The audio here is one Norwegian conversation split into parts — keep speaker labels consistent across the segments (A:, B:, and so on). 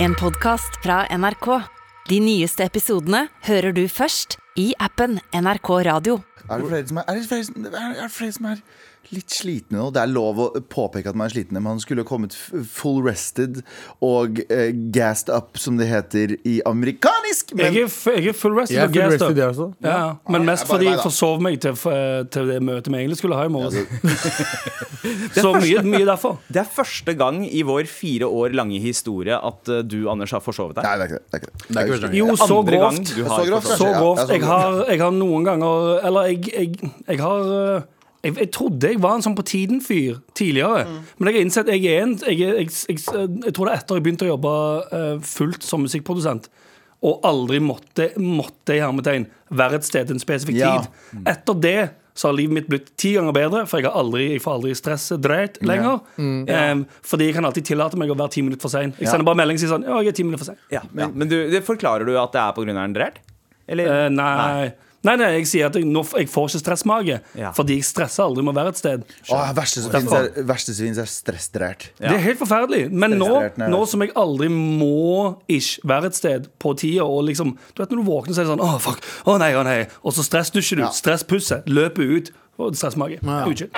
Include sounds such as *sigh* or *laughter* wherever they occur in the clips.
A: En podcast fra NRK. De nyeste episodene hører du først i appen NRK Radio.
B: Er det flere som er, er, det flere som, er, er det flere som er litt slitne nå? Det er lov å påpeke at man er slitne. Man skulle kommet f- full rested og eh, gassed up, som det heter i amerikanisk. Men
C: Jeg er, f- jeg er full rested
D: Jeg er
C: og
D: full
C: gassed up.
D: rested, jeg også.
C: Ja, ja. Men
B: jeg
C: mest
B: er bare
C: fordi
B: meg,
C: jeg
B: da.
C: forsov meg til, f- til det møtet vi egentlig skulle ha i morgen. *laughs* Så mye, mye derfor.
E: Det er første gang i vår fire år lange historie at eh, du, Anders, har forsovet deg.
B: Nei, det er ikke det. det, er ikke det.
D: Det er ikke første gang.
C: Jo, så
E: Andre gang
C: grovt.
E: du
B: Så
E: har
B: grovt,
C: Så
E: forsovet deg.
B: Ja,
C: grovt.
B: det er så
C: Jeg har, jeg har noen ganger Eller jeg, jeg, jeg har eh, jeg, jeg trodde jeg var en sånn på tiden-fyr tidligere. Men jeg har innsett jeg er en jeg, er- jeg, jeg, jeg tror det er etter jeg begynte å jobbe eh, fullt som musikkprodusent. Og aldri måtte, måtte i hermetegn være et sted til en spesifikk
B: Ja.
C: tid. Etter det så har livet mitt blitt ti ganger bedre, for jeg, har aldri, jeg får aldri stresset dreit lenger. Eh, fordi jeg kan alltid tillate meg å være ti minutter for sein. Jeg sender bare melding og sier sånn Ja, jeg er ti minutter for sein.
E: Ja, men, men du, det forklarer du at det er pga. en drert? Eller?
C: Eh, nei. nei, nei, jeg sier at jeg, nå, f- jeg får ikke stressmage.
E: Ja.
C: Fordi jeg stresser aldri med å være et sted.
B: Åh, verste som finnes er, verste som finnes er stressdrert.
C: Det er helt forferdelig. Men nå,
B: Stressdrert, nei.
C: nå som jeg aldri må ish være et sted på tida, og liksom Du vet når du våkner, så er det sånn Å, fuck. Å nei, å nei. Og så stressdusjer du.
B: Ja.
C: Stresspusset. Løper ut. Og stressmage. Uchill.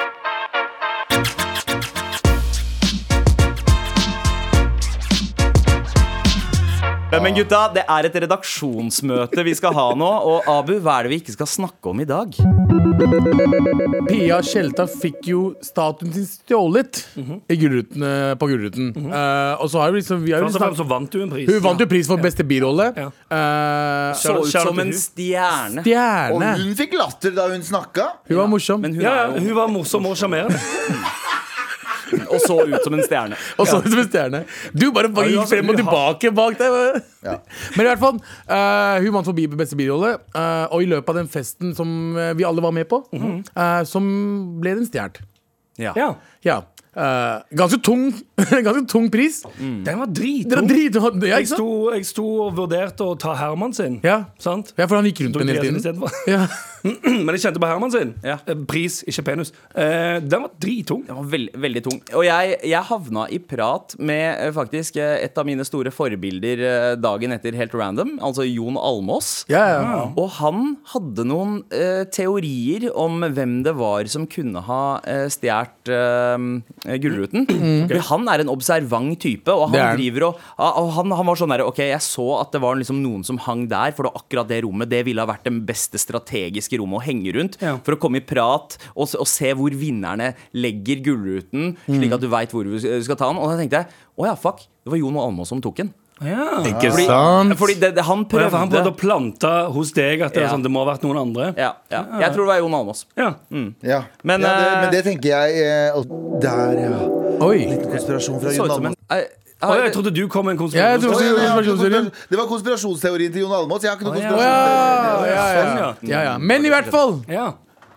E: Ja, men gutta, det er et redaksjonsmøte vi skal ha nå. Og Abu, hva er det vi ikke skal snakke om i dag?
D: Pia Tjelta fikk jo statuen sin stjålet
C: Mhm.
D: i Gullruten, eh, på Gullruten. Eh, og så har vi liksom vi har jo
C: Først og fremst
D: snakket,
C: så vant du en pris.
D: Hun vant jo pris for beste birolle.
C: Ja.
D: Eh,
E: Så
C: Shout
E: ut
C: out
E: som
C: til
E: en
C: hun.
E: stjerne.
B: Og
D: Stjerne.
B: hun fikk latter da hun snakka.
D: Hun var morsom.
E: Men hun
C: Ja, ja,
E: er
C: hun var morsom og sjarmerende.
E: jo og så ut som en stjerne.
C: *laughs*
D: Og så ut som en stjerne. Du bare bare
C: Ja,
D: gikk
C: altså,
D: frem og
C: hun
D: tilbake bak deg. *laughs* Men i hvert fall, eh, hun vant forbi beste birolle. eh, og i løpet av den festen som eh, vi alle var med på,
C: Mhm.
D: eh, som ble den stjålet.
E: Ja.
C: Ja.
D: *laughs* Ja. Eh, ganske, tung, *laughs* ganske tung pris.
C: Mm. Den var
D: Det er
C: drittung.
D: drit, ja,
C: Jeg
D: ikke sant?
C: sto, jeg sto og vurderte å ta Herman sin.
D: Ja.
C: Sant?
D: Ja, for han gikk rundt
C: Tok
D: med den
C: Andreasen
D: hele tiden.
C: istedenfor.
D: Ja.
C: *clears throat* Men jeg kjente på Herman sin.
E: Ja.
C: Eh, Pris, ikke penus. Eh, den var drittung.
E: Den var veld, veldig tung. Og jeg, jeg havna i prat med eh, faktisk eh, et av mine store forbilder eh, dagen etter helt random, altså Jon Almås.
D: Ja, ja.
E: Og han hadde noen eh, teorier om hvem det var som kunne ha uh, stjålet eh, Gullruten. Fordi han er en observant type, og
D: Mm. Det er
E: han
D: han.
E: driver og, ah, og han, han var sånn der, Ok, jeg så at det var liksom noen som hang der, for det var akkurat det rommet. Det ville ha vært det beste strategiske rommet å henge rundt.
C: Ja.
E: For å komme i prat og, s- og se hvor vinnerne legger Gullruten, slik at du veit hvor du s- skal ta den. Og da tenkte jeg å ja, fuck, det var Jon og Almås som tok den.
C: Ja.
D: Ikke
E: Fordi, fordi det, det, han
C: For
E: prøvde
C: han prøvde Mm. å plante hos deg at det, er
E: Ja.
C: sånn, det må ha vært noen andre.
E: ja, ja. Jeg tror Mm. det var Jon Almås.
C: Ja.
B: Ja.
E: Men,
B: ja, det,
E: eh,
B: men det tenker jeg eh, og Der, ja.
D: Oi.
B: Konspirasjon fra
E: Så
B: Jon
E: ut som en
B: Almaas.
E: Nei,
C: Å,
E: nei,
C: jeg trodde du kom med en
D: Ja, jeg
C: konspirasjon.
B: Å, ja,
D: tror-
B: ja, ja,
D: Konspirasjonsteorien.
B: konspirasjon- Det var konspirasjonsteorien til Jon Almaas. Jeg har ikke noen
C: Å, ja.
D: Å, Ja,
B: konspirasjonsteori.
D: ja,
C: Sånn,
D: ja. ja, ja. Men i hvert fall,
C: Ja.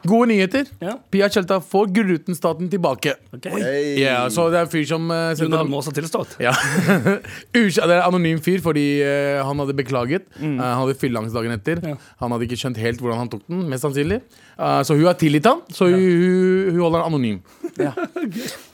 D: gode nyheter.
C: Ja.
D: Pia Tjelta får Gullruten-staten tilbake.
B: Hey.
D: Ja, så det er en fyr som eh,
C: Jon
D: sendte-
C: Almaas har tilstått.
D: ja. *laughs* Ukj- Det er en anonym fyr, fordi eh, han hadde beklaget. Eh, han hadde fylleangst dagen etter.
C: Mm. Ja.
D: Han hadde ikke skjønt helt hvordan han tok den, mest sannsynlig. Eh, så hun har tilgitt han, så hun, hun, hun holder han anonym.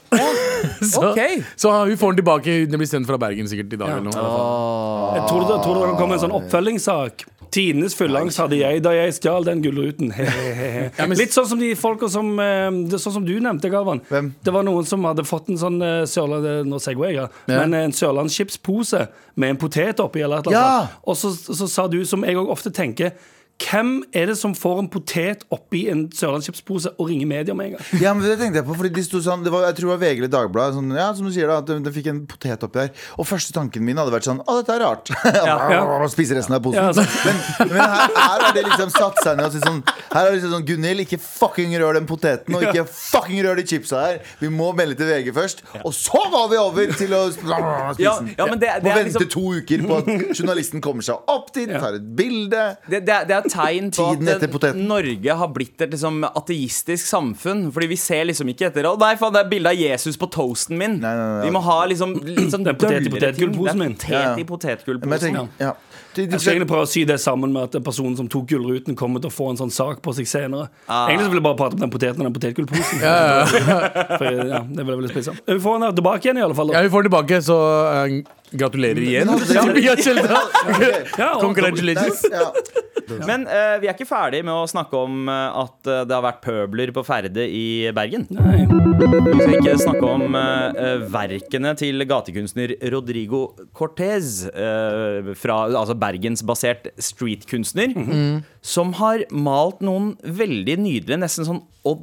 D: så,
E: Ok.
D: så hun får den tilbake. Den blir sendt fra Bergen sikkert i dag.
C: Ja.
D: Eller noe.
C: Jeg tror det, tror det kom en sånn oppfølgingssak. Tidenes fullangst hadde jeg da jeg stjal den gullruten.
D: Ja, men-
C: Litt sånn som de folka som eh, det er Sånn som du nevnte, Galvan.
B: Hvem?
C: Det var noen som hadde fått en sånn eh, Sørland, eh, nå sier jeg, ja.
D: Ja.
C: Men eh, en sørlandsskipspose med en potet oppi. Eller et eller
B: Ja!
C: annet. sånt. Og så, så sa du, som jeg òg ofte tenker hvem er det som får en potet oppi en sørlandsskipspose og ringer media med en gang?
B: Ja, men Det tenkte jeg på, fordi de sto sånn det var, Jeg tror det var VG eller Dagbladet. Sånn, ja, som du sier da, at de, de fikk en potet oppi der. Og første tanken min hadde vært sånn Å, dette er rart. *laughs*
C: ja.
B: Spise resten av posen.
C: Ja, altså.
B: Men, men her, her har de liksom satt seg ned og sagt sånn Her er det liksom sånn Gunhild, ikke fucking rør den poteten, og ikke fucking rør de chipsa her. Vi må melde til VG først. Og så går vi over til å spise
E: Ja,
B: den.
E: ja, men det- det
B: må
E: er
B: vente
E: liksom-
B: to uker på at journalisten kommer seg opp dit, tar et bilde.
E: Det, det, er- det er et tegn på
B: Tiden
E: at
B: etter
E: eh,
B: poteten.
E: Norge har blitt et liksom, ateistisk samfunn. Fordi vi ser liksom ikke etter Å nei, faen, det er bilde av Jesus på toasten min.
B: Nei, nei, nei.
E: Vi må ha liksom, litt sånn
C: Det er potet i
E: døllere
C: potetgullposen
E: ting.
C: min.
E: Det
B: Ja,
E: er
B: ja. Men jeg
E: Potet i potetgullposen.
B: tenker, ja. De, de,
C: Jeg skal egentlig prøve å sy det sammen med at den personen som tok gullruten, kommer til å få en sånn sak på seg senere. Egentlig så vil jeg bare prate om den poteten og den potetgullposen. *laughs* For, ja, det vil jeg vel spise. Vi får den her tilbake igjen, i alle fall. Da.
D: Ja, vi får den tilbake, så eh, gratulerer igjen. *laughs* Ja, Kjeldra.
C: Ja, og,
D: Congratulations.
B: ja.
E: Men eh, vi er ikke ferdig med å snakke om eh, at eh, det har vært pøbler på ferde i Bergen. Vi skal ikke snakke om eh, eh, verkene til gatekunstner Rodrigo Cortez, eh, fra, altså bergensbasert streetkunstner, som har malt noen veldig nydelige, nesten sånn Odd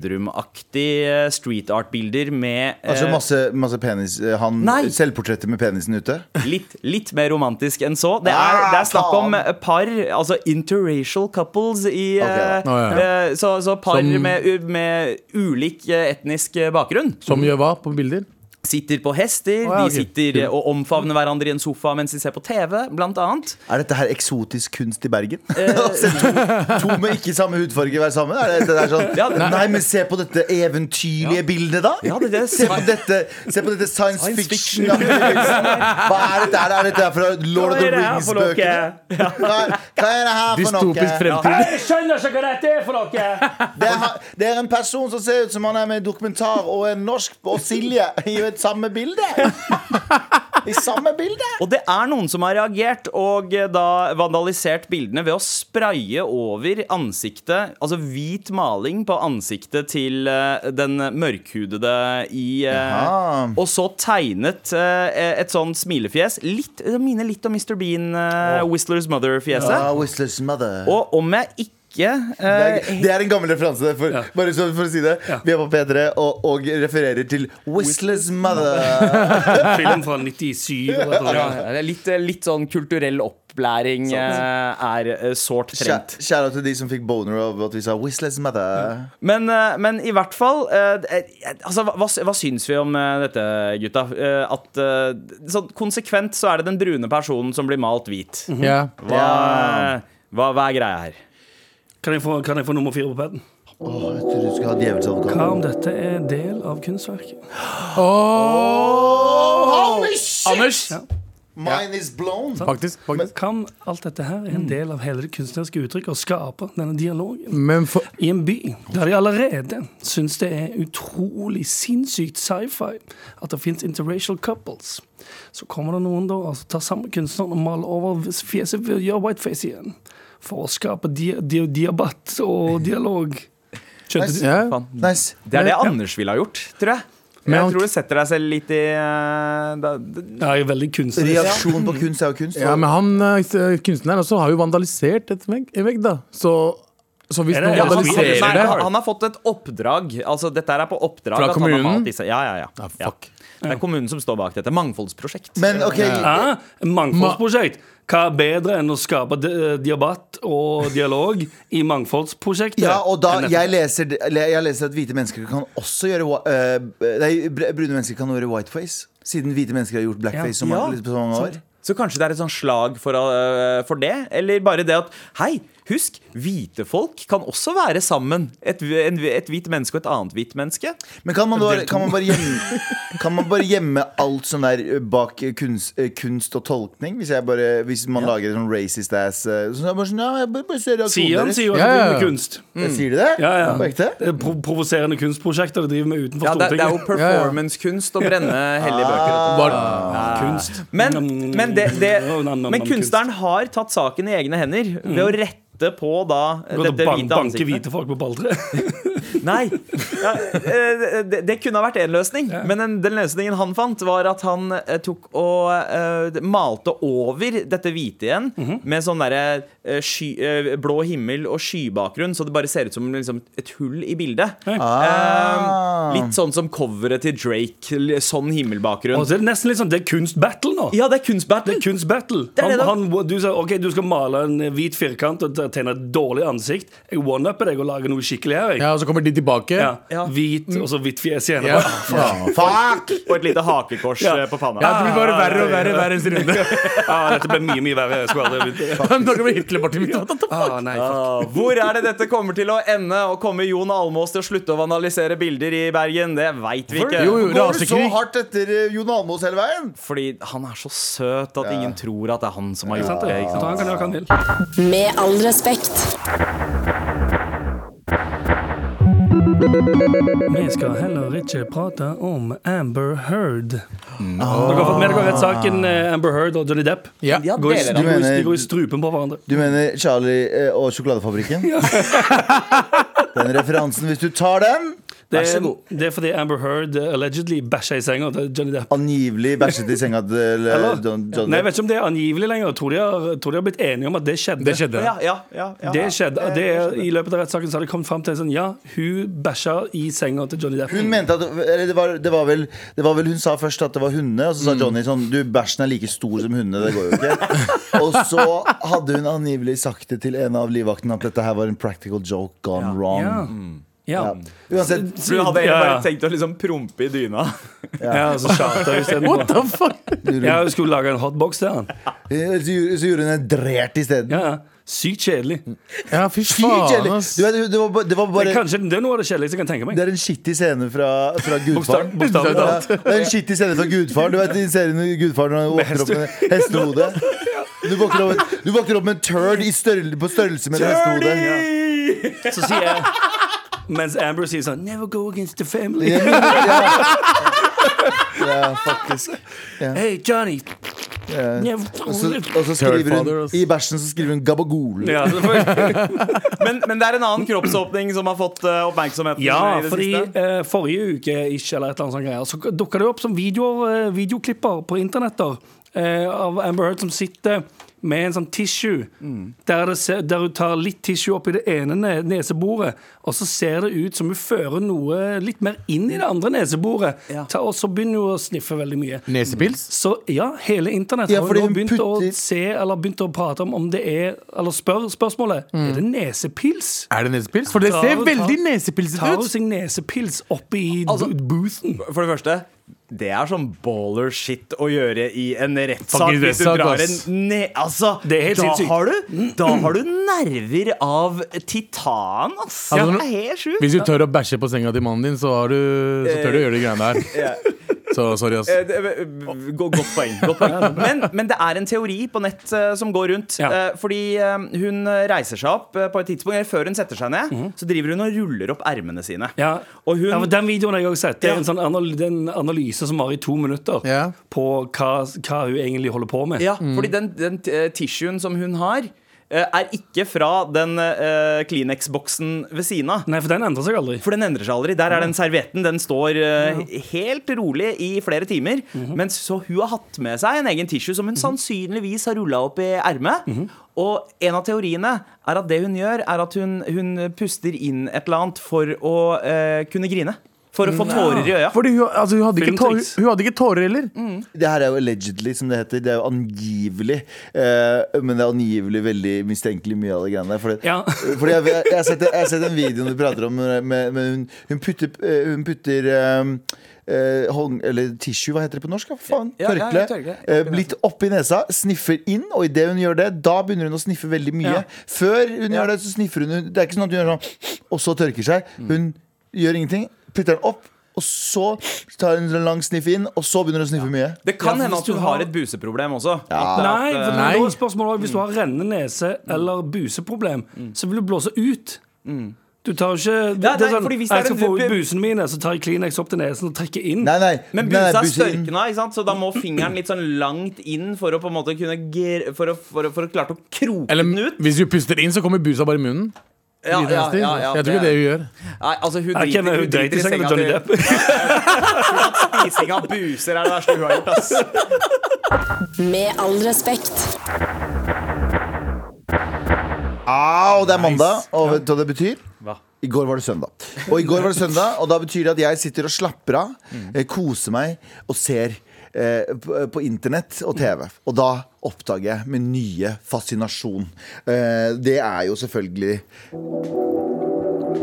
E: Nerdrum-aktige eh, street art-bilder med eh,
B: Altså masse, masse penis eh, Han
E: Nei.
B: selvportrettet med penisen ute?
E: litt, litt mer romantisk enn så. Det er,
B: Ah,
E: det er snakk om
B: faen.
E: par, altså interracial couples i
B: Ok, da.
E: eh,
D: Å, ja.
E: eh, Så, så par
D: Som-
E: med, u- med ulik eh, etnisk bakgrunn.
D: Som gjør hva på bilder?
E: Sitter på hester,
D: Å, ja, ok.
E: de sitter eh, og omfavner hverandre i en sofa mens de ser på TV, blant annet.
B: Er dette her eksotisk kunst i *laughs* Bergen? Se to, to med ikke samme hudfarge være sammen? Er det, det er sånn,
E: Ja, det-
B: nei, men se på dette eventyrlige bildet, da!
E: Ja, det- det er-
B: se, på dette, se på dette science,
E: Science fiction.
B: fiction! ja, Hva er dette her? Er dette her fra Lord of the
C: Hva er det her for noe?
B: Rings-bøkene? Hva, er- hva er det her for noe?
D: Dystopisk fremtid.
C: jeg skjønner ikke hva dette er for dere!
B: Det er, ha- det er en person som ser ut som han er med i dokumentar, og en norsk og Silje i et samme bilde! I samme bilde!
E: Og det er noen som har reagert og eh, da vandalisert bildene ved å spraye over ansiktet, altså hvit maling på ansiktet til eh, den mørkhudede i eh,
B: Jaha.
E: Og så tegnet eh, et sånn smilefjes. Litt, det minner litt om Mr. Bean, eh, Whistlers Mother-fjeset.
B: Ah, Whistler's mother.
E: Og om jeg ikke
B: Det
E: eh,
B: er, det er en gammel referanse. der, For, Bare så for å si det Vi er på P3 og, og refererer til Whistler's Mother.
C: Film fra 97. eller et eller
E: ja,
C: annet.
E: det er litt, eh, litt sånn kulturell opplæring eh, er eh, sårt
B: Kjæ-
E: trengt.
B: Kjære til de som fikk boner av at vi sa Whistler's Mother.
E: Men, eh, men i hvert fall eh, eh, altså, hva, hva- hva syns vi om eh, dette, gutta? Eh, At eh, sånn konsekvent så er det den brune personen som blir malt hvit.
D: Ja.
E: Hva, hva, hva er greia her?
C: Kan, jeg få, kan jeg få nummer fire på paden?
B: Åh, jeg trodde du skulle ha djevelsadvokat.
C: Hva om dette er del av kunstverket?
B: Holy shit!
D: Anders!
B: Mine is blown.
D: Faktisk. faktisk.
C: Hva om alt dette her er en del av hele det kunstneriske uttrykket og skaper denne dialogen?
D: Men for
C: i en by der de allerede syns det er utrolig sinnssykt sci-fi at det fins interracial couples. Så kommer det noen da og altså, tar samme kunstneren og maler over fjeset ved å gjøre whiteface igjen. For å skape di di diabatt og dialog. Skjønte du?
D: ja.
E: Faen.
B: Nice.
E: Det er det Anders ville ha gjort, tror jeg.
D: Men han-
E: Jeg tror du setter deg selv litt i eh, da, d-
C: Ja, jeg er veldig kunstnerisk.
B: Reaksjon på kunst er jo kunst.
D: Ja, men han eh, kunstneren også har jo vandalisert et vegg, en vegg da. Så, så hvis
C: Er det-
D: noen
C: Ja, han-
E: Nei,
D: vandaliserer det
E: han, han har fått et oppdrag. Altså, dette her er på oppdrag.
D: Fra
E: at han har
D: kommunen?
E: malt disse- Ja, ja, ja.
D: Ah,
E: ja.
D: fuck.
E: Det er kommunen som står bak dette. Mangfoldsprosjekt.
B: Men OK,
C: Ja, mangfoldsprosjekt. Hva er bedre enn å skape di- diabatt og dialog i mangfoldsprosjektet?
B: Ja, og da,
C: Enn dette?
B: jeg leser, det- eller jeg leser at hvite mennesker kan også gjøre whi- eh, Nei, br- brune mennesker kan gjøre whiteface. Siden hvite mennesker har gjort blackface så mange-
E: Ja,
B: litt på så mange år.
E: Så kanskje det er et sånn slag for, øh, for det? Eller bare det at Hei, husk, hvite folk kan også være sammen. Et, en, et hvit menneske og et annet hvit menneske.
B: Men kan man, da, kan, man bare gjemme, kan man bare gjemme alt som er eh, bak eh, kunst, eh, kunst og tolkning? Hvis, jeg bare, hvis man lager en sånn racist ass eh, sånn, bare sånn, ja, jeg bare, bare ser reaksjonen
C: Sian
B: deres.
C: sier jo at
D: Ja,
C: det
D: ja,
C: driver
D: ja.
C: med kunst.
B: Eh, Sier de det?
C: Ja, ja.
B: På ekte?
C: Det er pro provoserende kunstprosjekter de driver med utenfor
E: Ja, Ah. det, det er jo
C: Stortinget.
E: performancekunst å brenne hellige bøker. og sånt.
D: Var,
C: kunst.
E: Men,
C: Mm,
E: men, det, det,
C: *laughs* mm, mm, mm,
E: men kunstneren har tatt saken i egne hender ved å rette på da
C: kunst. Gått og
E: dette
C: ban
E: hvite
C: banke
E: ansiktet.
C: hvite folk på balltreet.
E: Nei. Ja, eh, det, det kunne ha vært én løsning, men den, den løsningen han fant, var at han eh, tok og eh, malte over dette hvite igjen
C: Mhm.
E: med sånn derre eh, sky- eh, blå himmel og skybakgrunn, så det bare ser ut som liksom, et hull i bildet.
B: Ah.
E: Eh, litt sånn som coveret til Drake. l- Sånn himmelbakgrunn.
C: Og så er det nesten litt sånn, det er kunstbattle nå.
E: Ja, det er kunstbattle.
C: Det er kunstbattle.
E: Det er
C: Han,
E: det da.
C: han, du sa ok, du skal male en hvit firkant og tegne et dårlig ansikt. Jeg one-upper deg og lager noe skikkelig her. jeg.
D: ja, og så kommer de de tilbake.
C: Ja.
E: Ja.
C: Hvit og så hvitt fjes igjen.
D: Ja.
B: Ah, Fuck!
E: Og et lite hakekors
C: Ja.
E: eh, på panna.
D: Ja, det blir bare verre og verre hver eneste *laughs* runde.
C: *laughs* Ah, dette ble mye, mye verre. Jeg skulle aldri begynt.
D: Han snakker med Hitler-partiet mitt.
C: Ah, nei, fuck.
E: Ah, Hvor er det dette kommer til å ende? Og kommer Jon Almås til å slutte å analysere bilder i Bergen? Det veit vi ikke.
D: Jo, jo,
B: Går du så
D: rasekrig.
B: hardt etter eh, Jon Almaas hele veien?
E: Fordi han er så søt at ingen tror at det er han som har
C: Ikke sant,
E: gjort
C: det?
E: det. Ikke
C: Så
E: sant?
C: han kan gjøre hva han vil.
A: Med all respekt.
C: Vi skal heller ikke prate om Amber Heard.
D: Mm.
C: Dere har fått med dere
D: Ah.
C: rettssaken eh, Amber Heard og Johnny Depp.
D: Ja.
E: Ja,
C: Går i,
E: deler
C: de,
E: av-
C: går i,
B: mener-
C: de går i strupen på hverandre.
B: Du mener Charlie eh, og sjokoladefabrikken? Den referansen, hvis du tar den
C: Det er, det er fordi Amber Heard eh, allegedly bæsja i senga til Johnny Depp.
B: Angivelig bæsjet i senga til eh,
C: Eller?
B: John, John
C: Nei, jeg vet ikke om det er angivelig lenger. Jeg tror de har, tror de har blitt enige om at det skjedde.
D: Det skjedde.
E: Ja, ja, ja, ja.
C: Det skjedde. Det er, I løpet av rettssaken så har de kommet fram til sånn Ja, hun bæsja i senga til Johnny Depp.
B: Hun mente at eller det var, det, var vel, det var vel Hun sa først at det var hundene, og så sa Johnny sånn Du, bæsjen er like stor som hundene, det går jo ikke. og så hadde hun angivelig sagt det til en av livvaktene at dette her var en practical joke gone wrong.
C: Ja.
D: Mm.
C: Ja.
B: Ja. Uansett,
E: For du hadde egentlig
C: Ja,
E: bare
C: ja.
E: tenkt å liksom prompe i
C: *laughs*
E: dyna.
C: Ja, så tjata hun
D: What
C: istedenfor.
D: the fuck?
C: Ja, hun skulle lage en hotbox til han.
B: eh, så gjorde- så gjorde hun en drert isteden.
C: Ja, ja. Sykt kjedelig.
D: Ja, fy
B: Fy,
D: faen,
B: kjedelig.
D: ass.
B: Du vet, Det var ba- det var
C: Det er,
B: bare
C: kanskje, det er noe av det kjedeligste jeg kan tenke meg.
B: det er en skittig scene fra, fra Gudfaren.
C: bokstavelig
B: Ja,
C: talt.
B: det er en skittig scene fra Gudfaren. Du vet i serien i Gudfaren når han våkner opp med hestehode? Du våkner opp, du våkner opp med en turd i størrel- på størrelse med et hestehode.
C: Så sier jeg Mens Amber sier sånn Never go against the family.
B: Ja, men- ja. ja, faktisk.
C: Hey, Johnny.
B: Ja.
C: Never
B: Og så, og så skriver
D: Third
B: hun
D: father,
B: I bæsjen så skriver hun 'gabagol'.
C: ja, så får-
E: *laughs* Men, men det er en annen kroppsåpning som har fått eh, oppmerksomheten.
C: ja,
E: i det
C: fordi
E: siste.
C: eh, forrige uke ikke, eller et eller annet sånt greier, så dukka det opp som videoer, eh, videoklipper på internetter eh, av Amber Heard som sitter med en sånn tissue,
B: Mm.
C: der, det ser, der hun tar litt tissue opp i det ene ne- neseboret, og så ser det ut som hun fører noe litt mer inn i det andre neseboret,
E: Ja.
C: Ta, og så begynner hun å sniffe veldig mye.
D: Nesepils?
C: Så ja, hele internett
B: Ja,
C: har
B: fordi
C: jo
B: hun
C: nå begynt å
B: putter-
C: se Eller begynt å prate om om det er Eller spør spørsmålet
E: Mm.
C: Er det nesepils?
D: Er det nesepils? For det
C: Tar-
D: ser veldig
C: tar-
D: nesepilsete
C: Tar hun
D: ut.
C: seg nesepils oppi
E: Altså-
C: bo- boothen?
E: For det første det er sånn baller shit å gjøre i en rettssak.
D: Fucking
E: Hvis du
D: rettssak,
E: drar en
D: ass.
E: ne... Altså,
C: Det er helt
E: da
C: sinnssykt. Mm.
E: har, du, da har du nerver av titan, ass.
C: Altså,
D: Ja.
E: det er helt sjukt.
D: Hvis du tør å bæsje på senga til mannen din, så, har du, så tør du å gjøre de greiene der. Så sorry, ass.
E: Eh, det- eh, go- Godt poeng. Godt poeng. Men, men det er en teori på nett eh, som går rundt.
C: Ja.
E: Eh, Fordi eh, hun reiser seg opp eh, på et tidspunkt, eller før hun setter seg ned, så driver hun og ruller opp ermene sine.
C: Mhm. Ja.
E: Og hun-
C: ja, men Den videoen har jeg også sett. Det
E: Ja.
C: er en, sånn anal det er en analyse som var i to minutter
D: Ja.
C: på hva, hva hun egentlig holder på med.
E: Ja, fordi den, den eh, tissuen som hun har eh, er ikke fra den eh, Kleenex-boksen ved siden av.
C: Nei, for den endrer seg aldri.
E: For den endrer seg aldri. Der
C: Mm.
E: er den servietten. Den står eh, helt rolig i flere timer.
C: Mm-hmm.
E: Mens så hun har hatt med seg en egen tissue som hun sannsynligvis har rulla opp i ermet.
C: Mm-hmm.
E: Og en av teoriene er at det hun gjør, er at hun, hun puster inn et eller annet for å eh, kunne grine. For å få
C: Mm.
E: tårer i øya.
D: Fordi hun, altså, hun, hadde ikke tårer,
C: Filmtriks.
D: hun hadde ikke tårer heller.
B: Det her er jo allegedly, som det heter. Det er jo angivelig. Eh, men det er angivelig veldig mistenkelig mye av det greiene der. Fordi, *laughs*
C: Ja.
B: fordi jeg, jeg, har sett, jeg har sett den videoen du prater om, med, med, med hun, hun putter, eh, hun putter eh, eh, hånd- eller tissue, hva heter det på norsk? Hva faen?
E: Ja, ja,
B: tørkle.
E: tørkle.
B: Eh, litt oppi nesa, sniffer inn, og idet hun gjør det, da begynner hun å sniffe veldig mye.
C: Ja.
B: Før hun gjør det, så sniffer hun. Det er ikke sånn at hun gjør sånn, og så tørker seg. Hun gjør ingenting, putter den opp. Og så tar hun en lang sniff inn, og så begynner hun å sniffe mye.
E: Det kan
C: Ja, for
E: hende
C: hvis
E: at
C: du
E: hun
C: har-
E: har et buseproblem også. eh,
C: Nei, for
D: Nei.
C: da er spørsmålet også, Hvis du
E: Mm.
C: har rennende nese eller buseproblem, så vil du blåse ut. Du tar jo ikke det,
E: Nei,
C: det er
E: Mm. nei,
C: sånn,
E: fordi hvis det
C: Jeg
E: er
C: skal
E: en-
C: få ut busene mine, så tar jeg Kleenex opp til nesen og trekker inn.
B: Nei, nei.
E: Men
B: nei, nei,
E: busa er
B: busa inn.
E: størkna, ikke sant? så da må fingeren litt sånn langt inn for å på en måte kunne gr- For å, for å, for å klare å kroke
D: Eller
E: den ut.
D: hvis du puster inn, så kommer busa bare i munnen.
E: Ja, ja, ja, ja,
D: jeg tror ikke det hun gjør.
E: Nei, altså hun
C: Nei, ikke,
E: driter,
C: men
E: hun driter i
C: senga til Johnny Depp.
E: *laughs* Spising av buser er det verste hun har gjort. ass
A: Med all respekt.
B: Au, det er mandag, og vet du hva det betyr?
E: Hva?
B: I går var det søndag. Og i går var det søndag, og da betyr det at jeg sitter og slapper av,
E: Mm.
B: eh, koser meg og ser eh, på, på internett og TV. Og da oppdager jeg min nye fascinasjon. Eh, det er jo selvfølgelig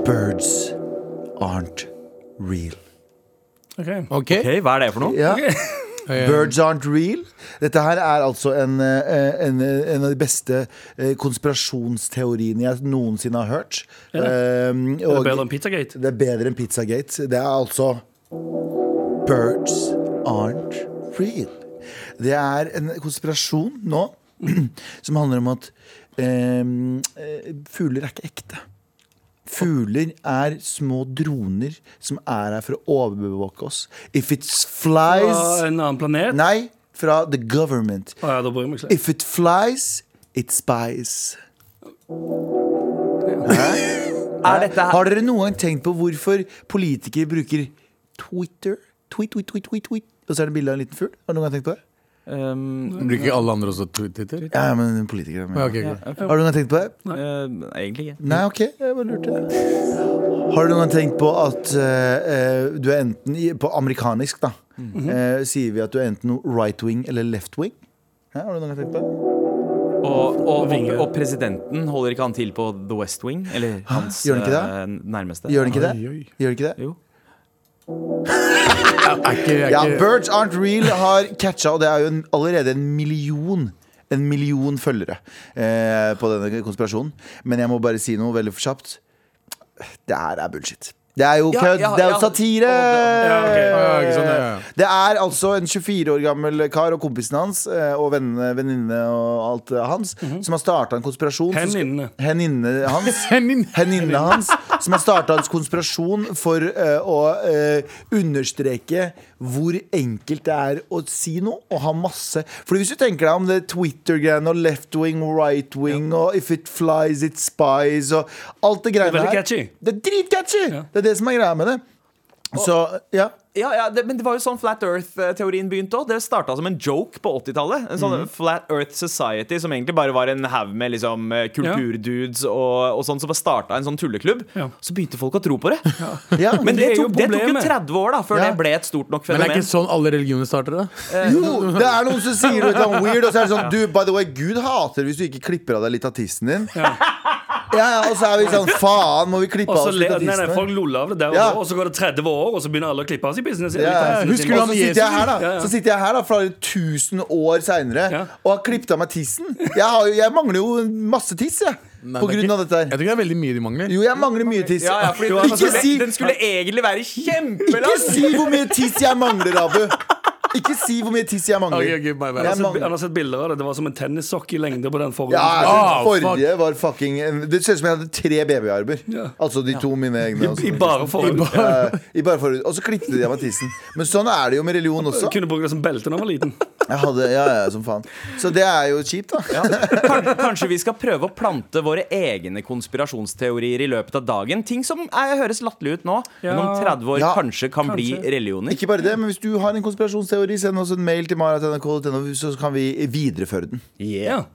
B: Birds aren't real.
C: Ok.
D: *laughs* Ok,
E: Ok, Hva er det for noe?
B: Ja.
C: *laughs* Eh.
B: Birds aren't real. Dette her er altså en, eh, en, eh, en av de beste eh, konspirasjonsteoriene jeg noensinne har hørt. Um,
C: Er det
B: og
C: bedre enn Pizzagate?
B: det er bedre enn Pizzagate. Det er altså Birds aren't real. Det er en konspirasjon nå *clears throat* som handler om at em, eh, fugler er ikke ekte. Fugler er små droner som er her for å overbevåke oss. If it
C: Fra
B: flies
C: en annen planet?
B: Nei, fra the government.
C: Å ja, da bryr jeg meg ikke.
B: If it flies, it spies.
E: Er dette
D: Ah.
E: her
B: Har dere noen gang tenkt på hvorfor politikere bruker Twitter? Tweet, tweet, tweet, tweet, tweet. Og så er det bilde av en liten fugl? Har du noen gang tenkt på det?
E: um,
D: Bruker ikke alle andre også Twitter?
B: Ja, ja, men politikere men.
D: Ja, ok,
B: Har
D: ok.
B: du noen gang tenkt på det?
E: eh, Egentlig ikke.
B: Nei, ok, jeg bare lurte. Har du noen gang tenkt på at eh, eh, du er enten i, På amerikanisk, da,
D: Mhm.
B: eh, sier vi at du er enten right wing eller left wing? Hæ, har du noen gang tenkt på det?
E: Og, og, og,
C: Vinge.
E: og presidenten holder ikke han til på The West Wing? Eller hans
B: Gjør han ikke det?
E: eh, nærmeste?
B: Gjør den ikke det?
D: Oi, oi.
B: Gjør den ikke det?
E: Jo.
D: Er ikke, er
B: Ja,
D: ikke
B: Birds Aren't Real har catcha, og det er jo en, allerede en million En million følgere eh, på denne konspirasjonen. Men jeg må bare si noe veldig kjapt. Det her er bullshit. Det er jo
E: Ja,
B: kødd!
E: ja,
B: det er jo
E: ja.
B: satire!
C: Ja, ok.
D: Ja, ikke sant, ja, ja.
B: Det er altså en 24 år gammel kar og kompisen hans eh, og vennene, venninne og alt eh, hans
E: Mhm.
B: som har starta en konspirasjon. som skal-
C: Henninne.
B: Henninne hans.
E: *laughs*
D: Henning.
B: Henninne hans, som har starta en konspirasjon for eh, å eh, understreke hvor enkelt det er å si noe og ha masse. For hvis du tenker deg om det Twitter-greiene og left wing, right wing og if it flies, it spies og alt det greiene
C: Det er veldig
B: her.
C: catchy.
B: Det er dritcatchy!
C: Ja.
B: Det er det som er greia med det. Så ja.
E: Ja, ja det, men det var jo sånn Flat Earth-teorien begynte òg. Det starta som en joke på 80-tallet. En sånn Flat Earth Society som egentlig bare var en haug med liksom, eh, kulturdudes og, og sånn, som bare starta en sånn tulleklubb.
C: Ja.
E: Så begynte folk å tro på det. *laughs*
B: ja.
E: Men
C: det
E: det,
C: er jo
E: tok, det tok jo
C: problemet.
E: 30 år da før
B: Ja.
E: det ble et stort
D: Men
E: nok
D: det er
E: fenomen.
D: ikke sånn alle religioner starter, da?
C: Eh,
B: Jo, det er noen som sier noe litt sånn weird, og så er det sånn Du, by the way, Gud hater hvis du ikke klipper av deg litt av tissen din. Ja, ja, Og så er vi sånn Faen, må vi klippe
C: Og
B: av
C: så
B: oss
C: le,
B: litt av
C: nei, nei, folk
B: tissen?
C: loller av det der og
B: Ja.
C: da, og så går det 30 år, og så begynner alle å klippe av seg i business.
B: Ja, ja,
C: Eller
D: husker
C: business.
B: Og
D: du han
B: så
D: Jesus?
B: sitter jeg her, da.
C: Ja, ja.
B: Så sitter jeg her da flere tusen år seinere
C: Ja.
B: og har klippet av meg tissen. Jeg, har, jo- jeg mangler jo masse tiss, jeg.
D: Nei,
B: På
D: det er
B: grunn av
D: ikke-
B: dette
D: Jeg
B: her.
D: tror ikke det er veldig mye de mangler.
B: Jo, jeg mangler mye tiss.
E: ja, ja, fordi den,
B: Ikke
D: altså
E: skulle,
B: si
E: den skulle egentlig være kjempelang!
B: altså, Ikke si hvor mye tiss jeg mangler, Abu. Ikke si hvor mye tiss jeg
D: Ok,
B: mangler.
D: ok, bye, bye. Altså,
B: Jeg
C: Han har sett-
B: mangler-
C: han har sett bilder av det. Det var som en tennissokk i lengde på den forrige.
B: Ja,
D: Ah,
B: den forrige var fucking Det ser ut som jeg hadde tre babyarmer. Altså de to mine egne.
C: I
B: også.
C: bare forhud.
B: Eh, I bare forhud. Og så klippet de av meg tissen. Men sånn er det jo med religion også.
C: Kunne bruke det som belte da jeg var liten.
B: Jeg hadde, ja, ja, som faen Så det er jo kjipt, da.
E: Kan- Kanskje vi skal prøve å plante våre egne konspirasjonsteorier i løpet av dagen. Ting som er, høres latterlig ut nå, men om
C: Ja.
E: 30 år
B: Ja,
E: kanskje kan
C: kanskje.
E: bli religioner.
B: Ikke bare det, men Hvis du har en konspirasjonsteori, send oss en mail til mara.nrk.no, så kan vi videreføre den.
C: Ja.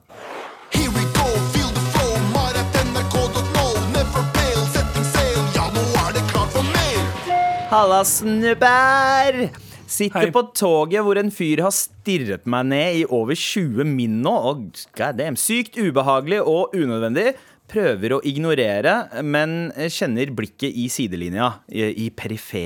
F: Here we go, feel the flow, mar at nrk.no. Never fail, setting sail, ja nå er det klart for mer.
E: Halla, snubber! Sitter
C: Hei.
E: på toget hvor en fyr har stirret meg ned i over 20 min nå. Og god damn, sykt ubehagelig og unødvendig. Prøver å ignorere, men kjenner blikket i sidelinja. I, i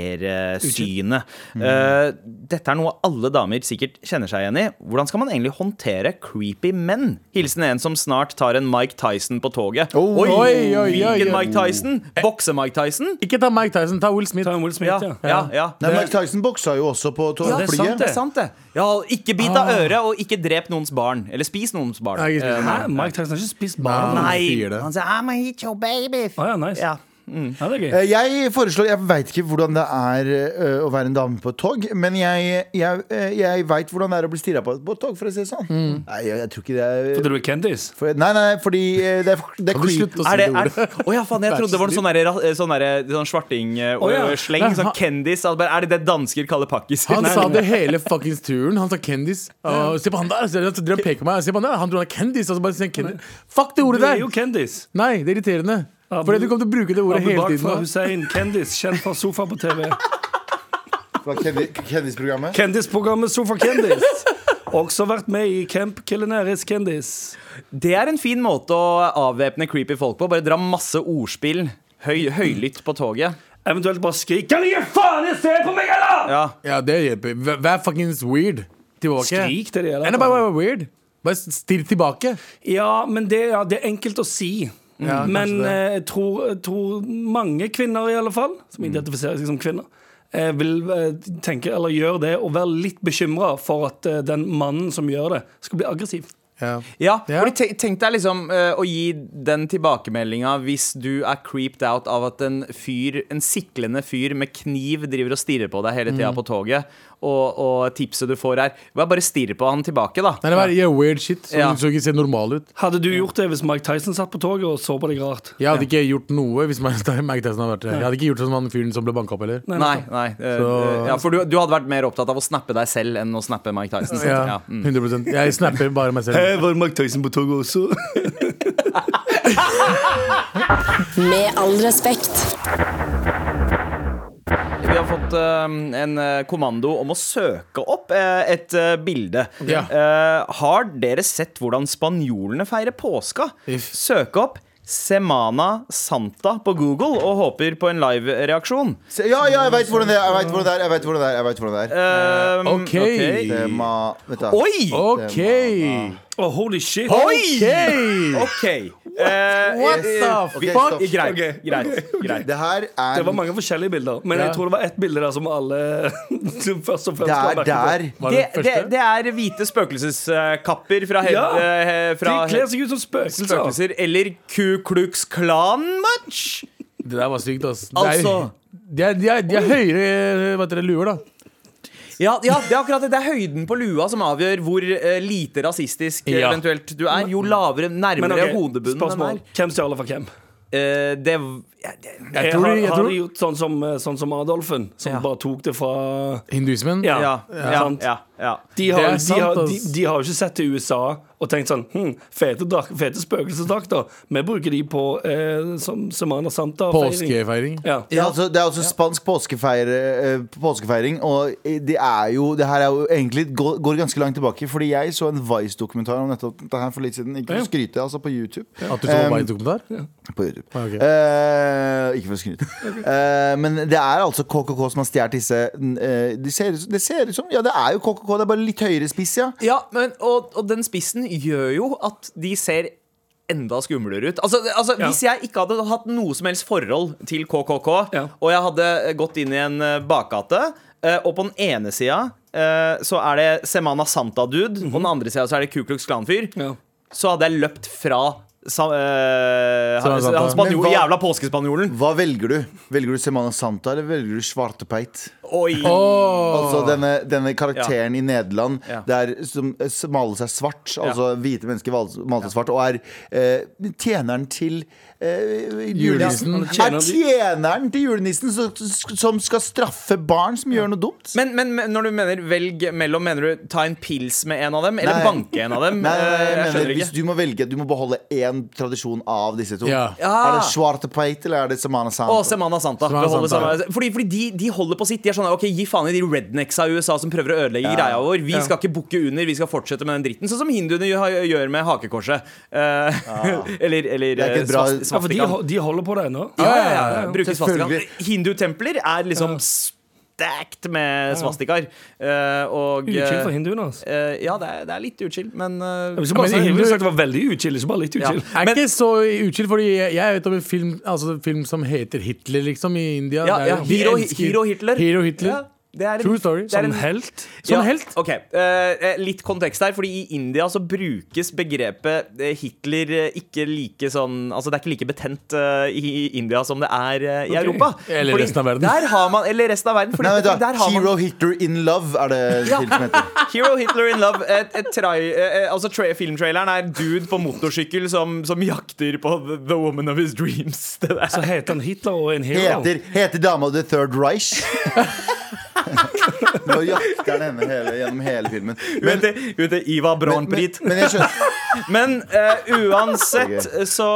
E: perifersynet.
D: Mm.
E: Eh, dette er noe alle damer sikkert kjenner seg igjen i. Hvordan skal man egentlig håndtere creepy menn? Hilsen en som snart tar en Mike Tyson på toget.
D: Oh. Oi, oi, oi, oi.
E: Hvilken Mike Tyson? Bokse-Mike Tyson?
D: Ikke ta Mike Tyson, ta Will Smith.
C: Ta en Will Smith,
E: Ja,
C: ja.
E: ja, ja.
B: Nei, Mike Tyson boksa jo også på to-
E: Ja, det er
B: flyet.
E: sant det. sant det Ja, og Ikke bit av øret, og ikke drep noens barn. Eller spis noens barn.
D: Nei, Ah. ikke spis
E: Eh,
C: Hæ? Mike Tyson har ikke spist barn.
D: Nei.
E: Nei,
D: sier det.
E: han sier I'm gonna eat your baby.
C: Å ja, nice.
E: Ja.
C: Ja, det er gøy.
B: Eh, Jeg foreslår, jeg vet ikke hvordan det er eh, å være en dame på et tog Men jeg, jeg, eh, jeg vet hvordan det er å bli stirret på på et tog, for å si det sånn Nei, jeg, jeg tror ikke det er
C: Fordi du er kendis?
B: for, Nei, nei, fordi eh, det er, det er
D: Kan du
B: creep-
D: slutte å
E: Er
D: si
E: det
D: det
E: er,
D: ordet?
E: Å ja, faen, jeg trodde det var en sånn, derre ra- sånn, derre- sånn
C: Å, ja.
E: svarting-sleng.
D: Nei,
E: sånn
D: han-
E: kendis. at bare, Er det det dansker kaller pakkiser?
D: Han
E: Nei,
D: sa
E: nei,
D: det hele fuckings turen. Han sa kendis. Og se på han der! Se, så dere peker på meg. Se på han der! Han tror han er kendis. Og så bare sier han kendis. Fuck det
C: Du
D: ordet
C: er jo
D: der!
C: kendis.
D: Nei, det er irriterende.
C: Abu-
D: Fordi du kommer til å bruke det ordet
C: Abu
D: hele
C: Bakr fra
D: tiden. nå.
C: Hussein, kendis, kjent fra Sofa på TV.
B: Fra kendi- Kendisprogrammet
C: Kendisprogrammet Sofa Kendis. Også vært med i Camp Kulinarisk Kendis.
E: nei. Det er en fin måte å avvæpne creepy folk på. Bare dra masse ordspill. Høy, høylytt på toget.
C: Eventuelt bare skrik 'Kan ikke faen jeg se på meg, eller?!'
E: Ja.
D: Ja, det hjelper. Vær- Vær fuckings weird tilbake.
C: Skrik til de, eller?
D: Nei, nei, bare vær weird. Bare stirr tilbake.
C: Ja, men det, ja, det er enkelt å si.
D: Mm. Ja, kanskje
C: men
D: det.
C: eh, jeg tror, jeg tror mange kvinner, i alle fall, som
D: Mm.
C: identifiserer seg som kvinner, eh, vil eh, tenke, eller gjøre det, og være litt bekymra for at eh, den mannen som gjør det, skal bli aggressiv.
D: Ja.
E: Ja,
D: Ja.
E: fordi tenk, tenk deg liksom eh, å gi den tilbakemeldinga hvis du er creeped out av at en fyr, en siklende fyr med kniv driver og stirrer på deg hele
D: Mm.
E: tida på toget, og, og tipset du får er Vær bare stirr på han tilbake, da.
D: Nei, det var yeah, weird shit. Så
E: Ja.
D: du så ikke ser normal ut.
C: Hadde du gjort det hvis Mike Tyson satt på toget og så på deg rart?
D: Jeg hadde ikke gjort noe hvis *laughs* Mike Tyson hadde vært der. Jeg hadde ikke gjort sånn som han fyren som ble banka opp heller.
E: Nei, nei. eh,
D: Så-
E: Ja, for du, du hadde vært mer opptatt av å snappe deg selv enn å snappe Mike Tyson. sant?
D: Ja,
E: Ja, mm.
D: 100 Jeg snapper bare meg selv.
C: var Mike Tyson på toget også? *laughs*
G: Med all respekt.
E: Vi har fått eh, en eh, kommando om å søke opp eh, et eh, bilde.
D: Ja.
E: Eh, har dere sett hvordan spanjolene feirer påska?
D: Uff.
E: Søk opp Semana Santa på Google og håper på en live-reaksjon.
B: Se- Ja, ja, jeg veit hvordan det er! Jeg vet hvordan det er, jeg vet hvordan det er, jeg vet hvordan det er.
E: Eh,
D: ok.
B: Tema Vet du hva.
E: Oi!
D: OK!
C: Oh, holy shit!
D: OK!
E: OK. Eh,
D: What the
B: Ok,
D: fuck?
B: stopp.
E: greit. greit, greit.
B: Det her er
C: Det var mange forskjellige bilder, men jeg tror det var ett bilde der som alle *laughs* som først og fremst
B: Det
C: la
B: er
C: merke til.
B: der.
D: Var
E: Det,
D: det den
E: det,
D: første?
E: det er hvite spøkelseskapper fra, hev,
C: Ja.
E: eh,
C: De
E: fra
C: kler seg ut som spøkelser.
E: spøkelser. Eller Ku Klux Klan-match.
D: Det der var sykt, ass.
E: Altså.
D: Det er, de er, de er, de er høyere hva heter det, luer, da.
E: Ja, ja, det er akkurat det. Det er høyden på lua som avgjør hvor eh, lite rasistisk eh,
D: Ja.
E: eventuelt du er. Jo lavere,
C: Men
E: nærmere
C: ok,
E: hodebunnen
C: spørsmål.
E: den er.
C: Hvem stjeler fra hvem?
E: Eh, det, ja, det
D: Jeg
C: har,
D: tror, de- jeg
C: har
D: tror
C: de gjort sånn som, sånn som Adolfen, som
E: Ja.
C: bare tok det fra
D: Hinduismen?
C: Ja,
E: ja, ja,
C: sant.
E: ja, ja.
C: De har,
D: Det er
C: de,
D: sant,
C: har, de,
D: ass.
C: de har jo ikke sett til USA og tenkt sånn hm, Fete, drak- fete spøkelsesdrakter. Vi bruker de på eh, som Semana Santa.
D: Påskefeiring.
C: Ja.
B: Det er altså, det er altså spansk påskefeir, eh, påskefeiring, og det er jo Det her er jo egentlig går, går ganske langt tilbake, fordi jeg så en Vice-dokumentar om nettopp dette her for litt siden. Ikke for å skryte, altså, på YouTube.
D: At du så
B: Um,
D: um, dokumentar?
B: På YouTube.
C: Ah,
D: Ok.
B: Eh, ikke for å
C: *laughs*
B: skryte. Eh, men det er altså KKK som har stjålet disse eh, de ser, ut som- Det ser ut som Ja, det er jo KKK, det er bare litt høyere spiss, ja.
E: ja men, og, og den spissen gjør jo at de ser enda skumlere ut. Altså, altså
C: Ja.
E: Hvis jeg ikke hadde hatt noe som helst forhold til KKK,
C: Ja.
E: og jeg hadde eh, gått inn i en eh, bakgate, eh, og på den ene sida eh, så er det Semana Santa-dude, på den andre sida så er det Ku Klux Klan-fyr.
C: Ja.
E: så hadde jeg løpt fra sa, eh,
D: Sa-
E: han,
D: Santa.
E: han spanjol,
B: Men hva-
E: jævla påskespanjolen.
B: Hva velger du? Velger du Semana Santa, eller velger du Svartepeit?
E: Oi.
B: Altså denne, denne karakteren i Nederland
E: Ja.
B: der som eh, s- maler seg svart, altså hvite mennesker val- maler seg svart, og er eh, tjeneren til eh, julenissen.
D: Julenissen.
B: Er tjeneren til julenissen som, som skal straffe barn som gjør noe dumt?
E: Men, men men når du mener velg mellom, mener du ta en pils med en av dem? Eller
B: Nei.
E: banke en av dem?
B: Nei, nei,
E: Eh,
B: nei,
E: jeg
B: jeg mener,
E: skjønner
B: hvis
E: ikke.
B: du må velge, du må beholde én tradisjon av disse to.
D: Ja.
E: Ja.
B: Er det Svartepeit eller er det Semana Santa?
E: Og Semana Santa.
D: Semana
E: Beholde
D: Santa, ja.
E: samme- Fordi, fordi de, de holder på sitt. De er sånn, ok, Gi faen i de rednecksa i USA som prøver å ødelegge greia vår. Vi skal ikke bukke under, vi skal fortsette med den dritten. Sånn som hinduene gjør- gjør med hakekorset. Eh, *laughs* eller eller
B: er ikke et bra-
E: svast-
C: Ja, for de,
E: svastika.
C: ho- de holder på det ennå.
E: Ja, ja, ja, ja. Bruker svastika.
B: Selvfølgelig.
E: Hindutempler er liksom stacked med svastikaer. Eh, og
C: Uchill for
E: eh,
C: hinduene, altså.
E: eh, Ja, det er, det er litt uchill, men eh,
C: Jeg vil bare
D: men
C: si- jeg ville
D: hindu-
C: sagt det var veldig uchill, ikke bare litt
E: Ja.
C: uchill.
D: Jeg er ikke så utskilt, fordi jeg jeg vet om en film, altså en film som heter Hitler, liksom, i India.
E: ja,
D: Det er
E: ja,
D: jo- de
E: Hero,
D: elsker-
E: Hero Hitler.
D: Hero Hitler.
E: Ja, det er en-
D: True story.
E: det er en-
C: Som helt.
D: Som
E: ja,
D: Sånn helt.
E: ok. Eh, eh, litt kontekst her, fordi i India så brukes begrepet eh, Hitler eh, ikke like sånn Altså det er ikke like betent eh, i i India som det er eh, i Europa.
D: Eller
E: Fordi
D: resten av verden.
E: Der har man, eller resten av verden. Fordi
B: Nei, vent da.
E: der har man
B: Hero Hitler in Love er det en film som heter.
E: Hero Hitler in Love. Et, et trai, eh, eh, altså tra Filmtraileren er dude på motorsykkel som, som jakter på the, the woman of his dreams. *laughs* Det der.
C: Så heter han Hitler og er en hero.
B: Heter, heter dama The Third Reich? Nå jakter han henne hele, gjennom hele filmen.
E: Hun heter- hun heter Iva Braunbrit.
B: men jeg skjønner
E: *laughs* Men eh, uansett så,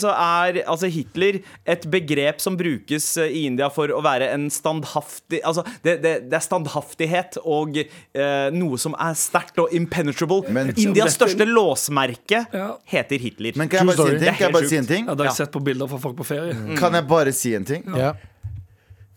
E: så er altså Hitler et begrep som brukes eh, i India for å være en standhaftig Altså, det, det, det er standhaftighet og eh, noe som er sterkt og impenetrable.
B: Men-
E: Indias største låsmerke
C: Ja.
E: heter Hitler.
B: Men kan jeg bare si en ting? Kan jeg bare si en ting?
C: Ja, da har
E: Ja.
B: Mm.
C: jeg sett på bilder fra folk på ferie.
B: Kan jeg bare si en ting?
D: Ja.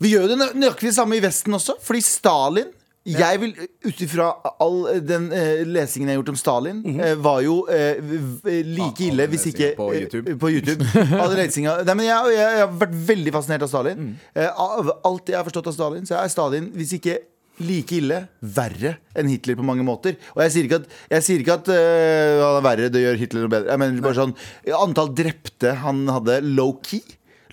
B: Vi gjør jo det nø- nøyaktig det samme i Vesten også, fordi Stalin jeg vil, Ut ifra all den eh, lesingen jeg har gjort om Stalin,
E: Mhm.
B: eh, var jo eh, v- v- like ille hvis
E: lesingen
B: ikke
E: på
B: eh,
E: YouTube.
B: På YouTube.
E: *laughs*
B: All lesinga Nei, men jeg, jeg, jeg har vært veldig fascinert av Stalin.
E: Mm.
B: Eh, av alt jeg har forstått av Stalin, så er Stalin, hvis ikke like ille, verre enn Hitler på mange måter. Og jeg sier ikke at, jeg sier ikke at eh, han er verre, det gjør Hitler noe bedre. Jeg mener bare sånn Antall drepte han hadde, low-key.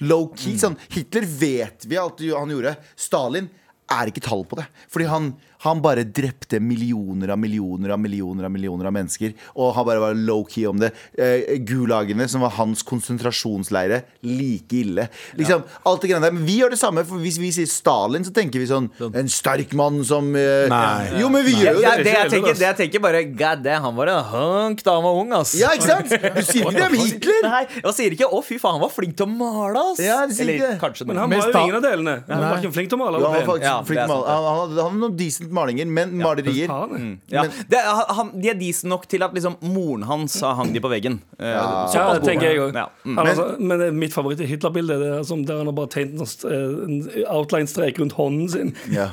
B: Low-key,
E: Mm.
B: sånn Hitler vet vi alt han gjorde. Stalin er ikke tall på det. Fordi han, han bare drepte millioner av millioner av millioner av millioner av mennesker. Og han bare var low-key om det. Eh, gulagene, som var hans konsentrasjonsleire, like ille. Liksom, alt det greiene der. Men vi gjør det samme, for hvis vi sier Stalin, så tenker vi sånn En sterk mann som eh,
D: Nei.
B: Jo, men vi
E: Ja,
B: gjør jo det.
E: det, jeg tenker, det jeg tenker bare God damn, han var en hunk da han var ung, ass.
B: Ja, ikke sant? Du sier ikke det
E: *laughs*
B: om Hitler!
E: Nei, jeg sier ikke 'å, fy faen, han var flink til å male', ass.
B: Ja, det sier
E: Eller
B: ikke det.
E: kanskje
C: Men han
D: Mest
C: var jo
D: ta-
C: ingen av delene. Han var ikke flink til å male.
B: Ja,
C: eller
B: han, var
C: pen.
B: faktisk
E: Ja, det
B: flink
E: er sant,
B: mal-
E: det.
B: han, han hadde- han hadde noen decent malinger, men malerier
C: Har han det?
E: ja. det, han, han- De er decent nok til at liksom moren hans hang de på veggen. Eh,
C: Ja,
E: såpass
C: det tenker jeg
E: god.
C: òg.
E: Ja, mm.
C: Men, altså, men eh, mitt favoritt er Hitler-bildet. det er som Der han har bare tegnet en sånn, eh, en outline-strek rundt hånden sin.
B: Ja.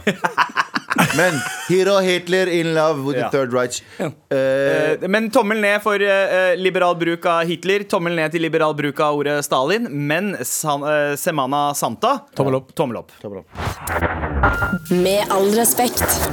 B: Men Hero Hitler in love with
E: Ja.
B: the Third Reich.
C: Ja.
B: Eh,
E: Eh, Men tommel ned for eh, eh, liberal bruk av Hitler. Tommel ned til liberal bruk av ordet Stalin. Men san, eh, Semana Santa
D: Tommel opp.
E: Tommel opp.
H: Med all respekt.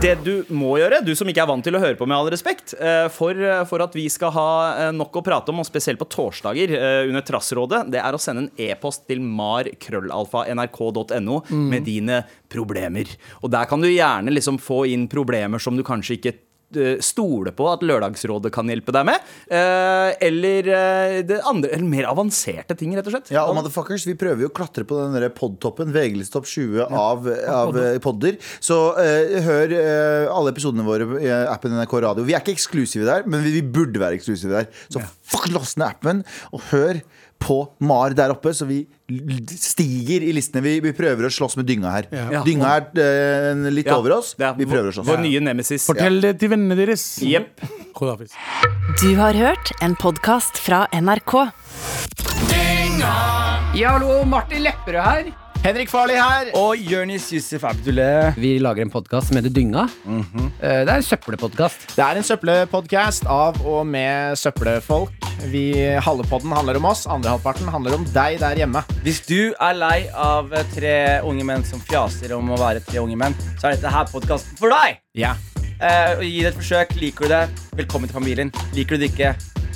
E: Det du må gjøre, du som ikke er vant til å høre på med all respekt, eh, for, eh, for at vi skal ha eh, nok å prate om, og spesielt på torsdager eh, under Trassrådet, det er å sende en e-post til mar.krøllalfa.nrk.no med dine problemer. Og der kan du gjerne liksom få inn problemer som du kanskje ikke eh, stole på at Lørdagsrådet kan hjelpe deg med. eh, Eller eh, det andre, eller mer avanserte ting, rett og slett.
B: Ja, og motherfuckers, vi prøver jo å klatre på den der podtoppen, VG-list topp 20 av, av eh, podder. Så eh, hør eh, alle episodene våre i eh, appen NRK Radio. Vi er ikke eksklusive der, men vi, vi burde være eksklusive der. Så fuck, last ned appen, og hør på Mar der oppe, så vi l- stiger i listene. Vi, vi prøver å slåss med dynga her.
D: Ja.
B: Dynga er eh, litt
E: Ja,
B: over oss.
E: det er
B: Vi prøver å slåss.
E: Vår nye nemesis.
D: Fortell det til vennene deres.
E: Jepp.
D: Kodafis.
A: Du har hørt en podkast fra NRK.
I: Ja, hallo, Martin Lepperød her.
E: Henrik Farley her.
J: Og Jonis Yusuf Abdullah.
I: Vi lager en podkast som heter Dynga.
K: Mhm.
I: Eh, Det er en søppelpodkast.
J: Det er en søppelpodkast av og med søppelfolk. Vi, halve podden handler om oss, andre halvparten handler om deg der hjemme.
K: Hvis du er lei av eh, tre unge menn som fjaser om å være tre unge menn, så er dette her podkasten for deg!
J: Ja.
K: Eh, og gi det et forsøk. Liker du det, velkommen til familien. Liker du det ikke,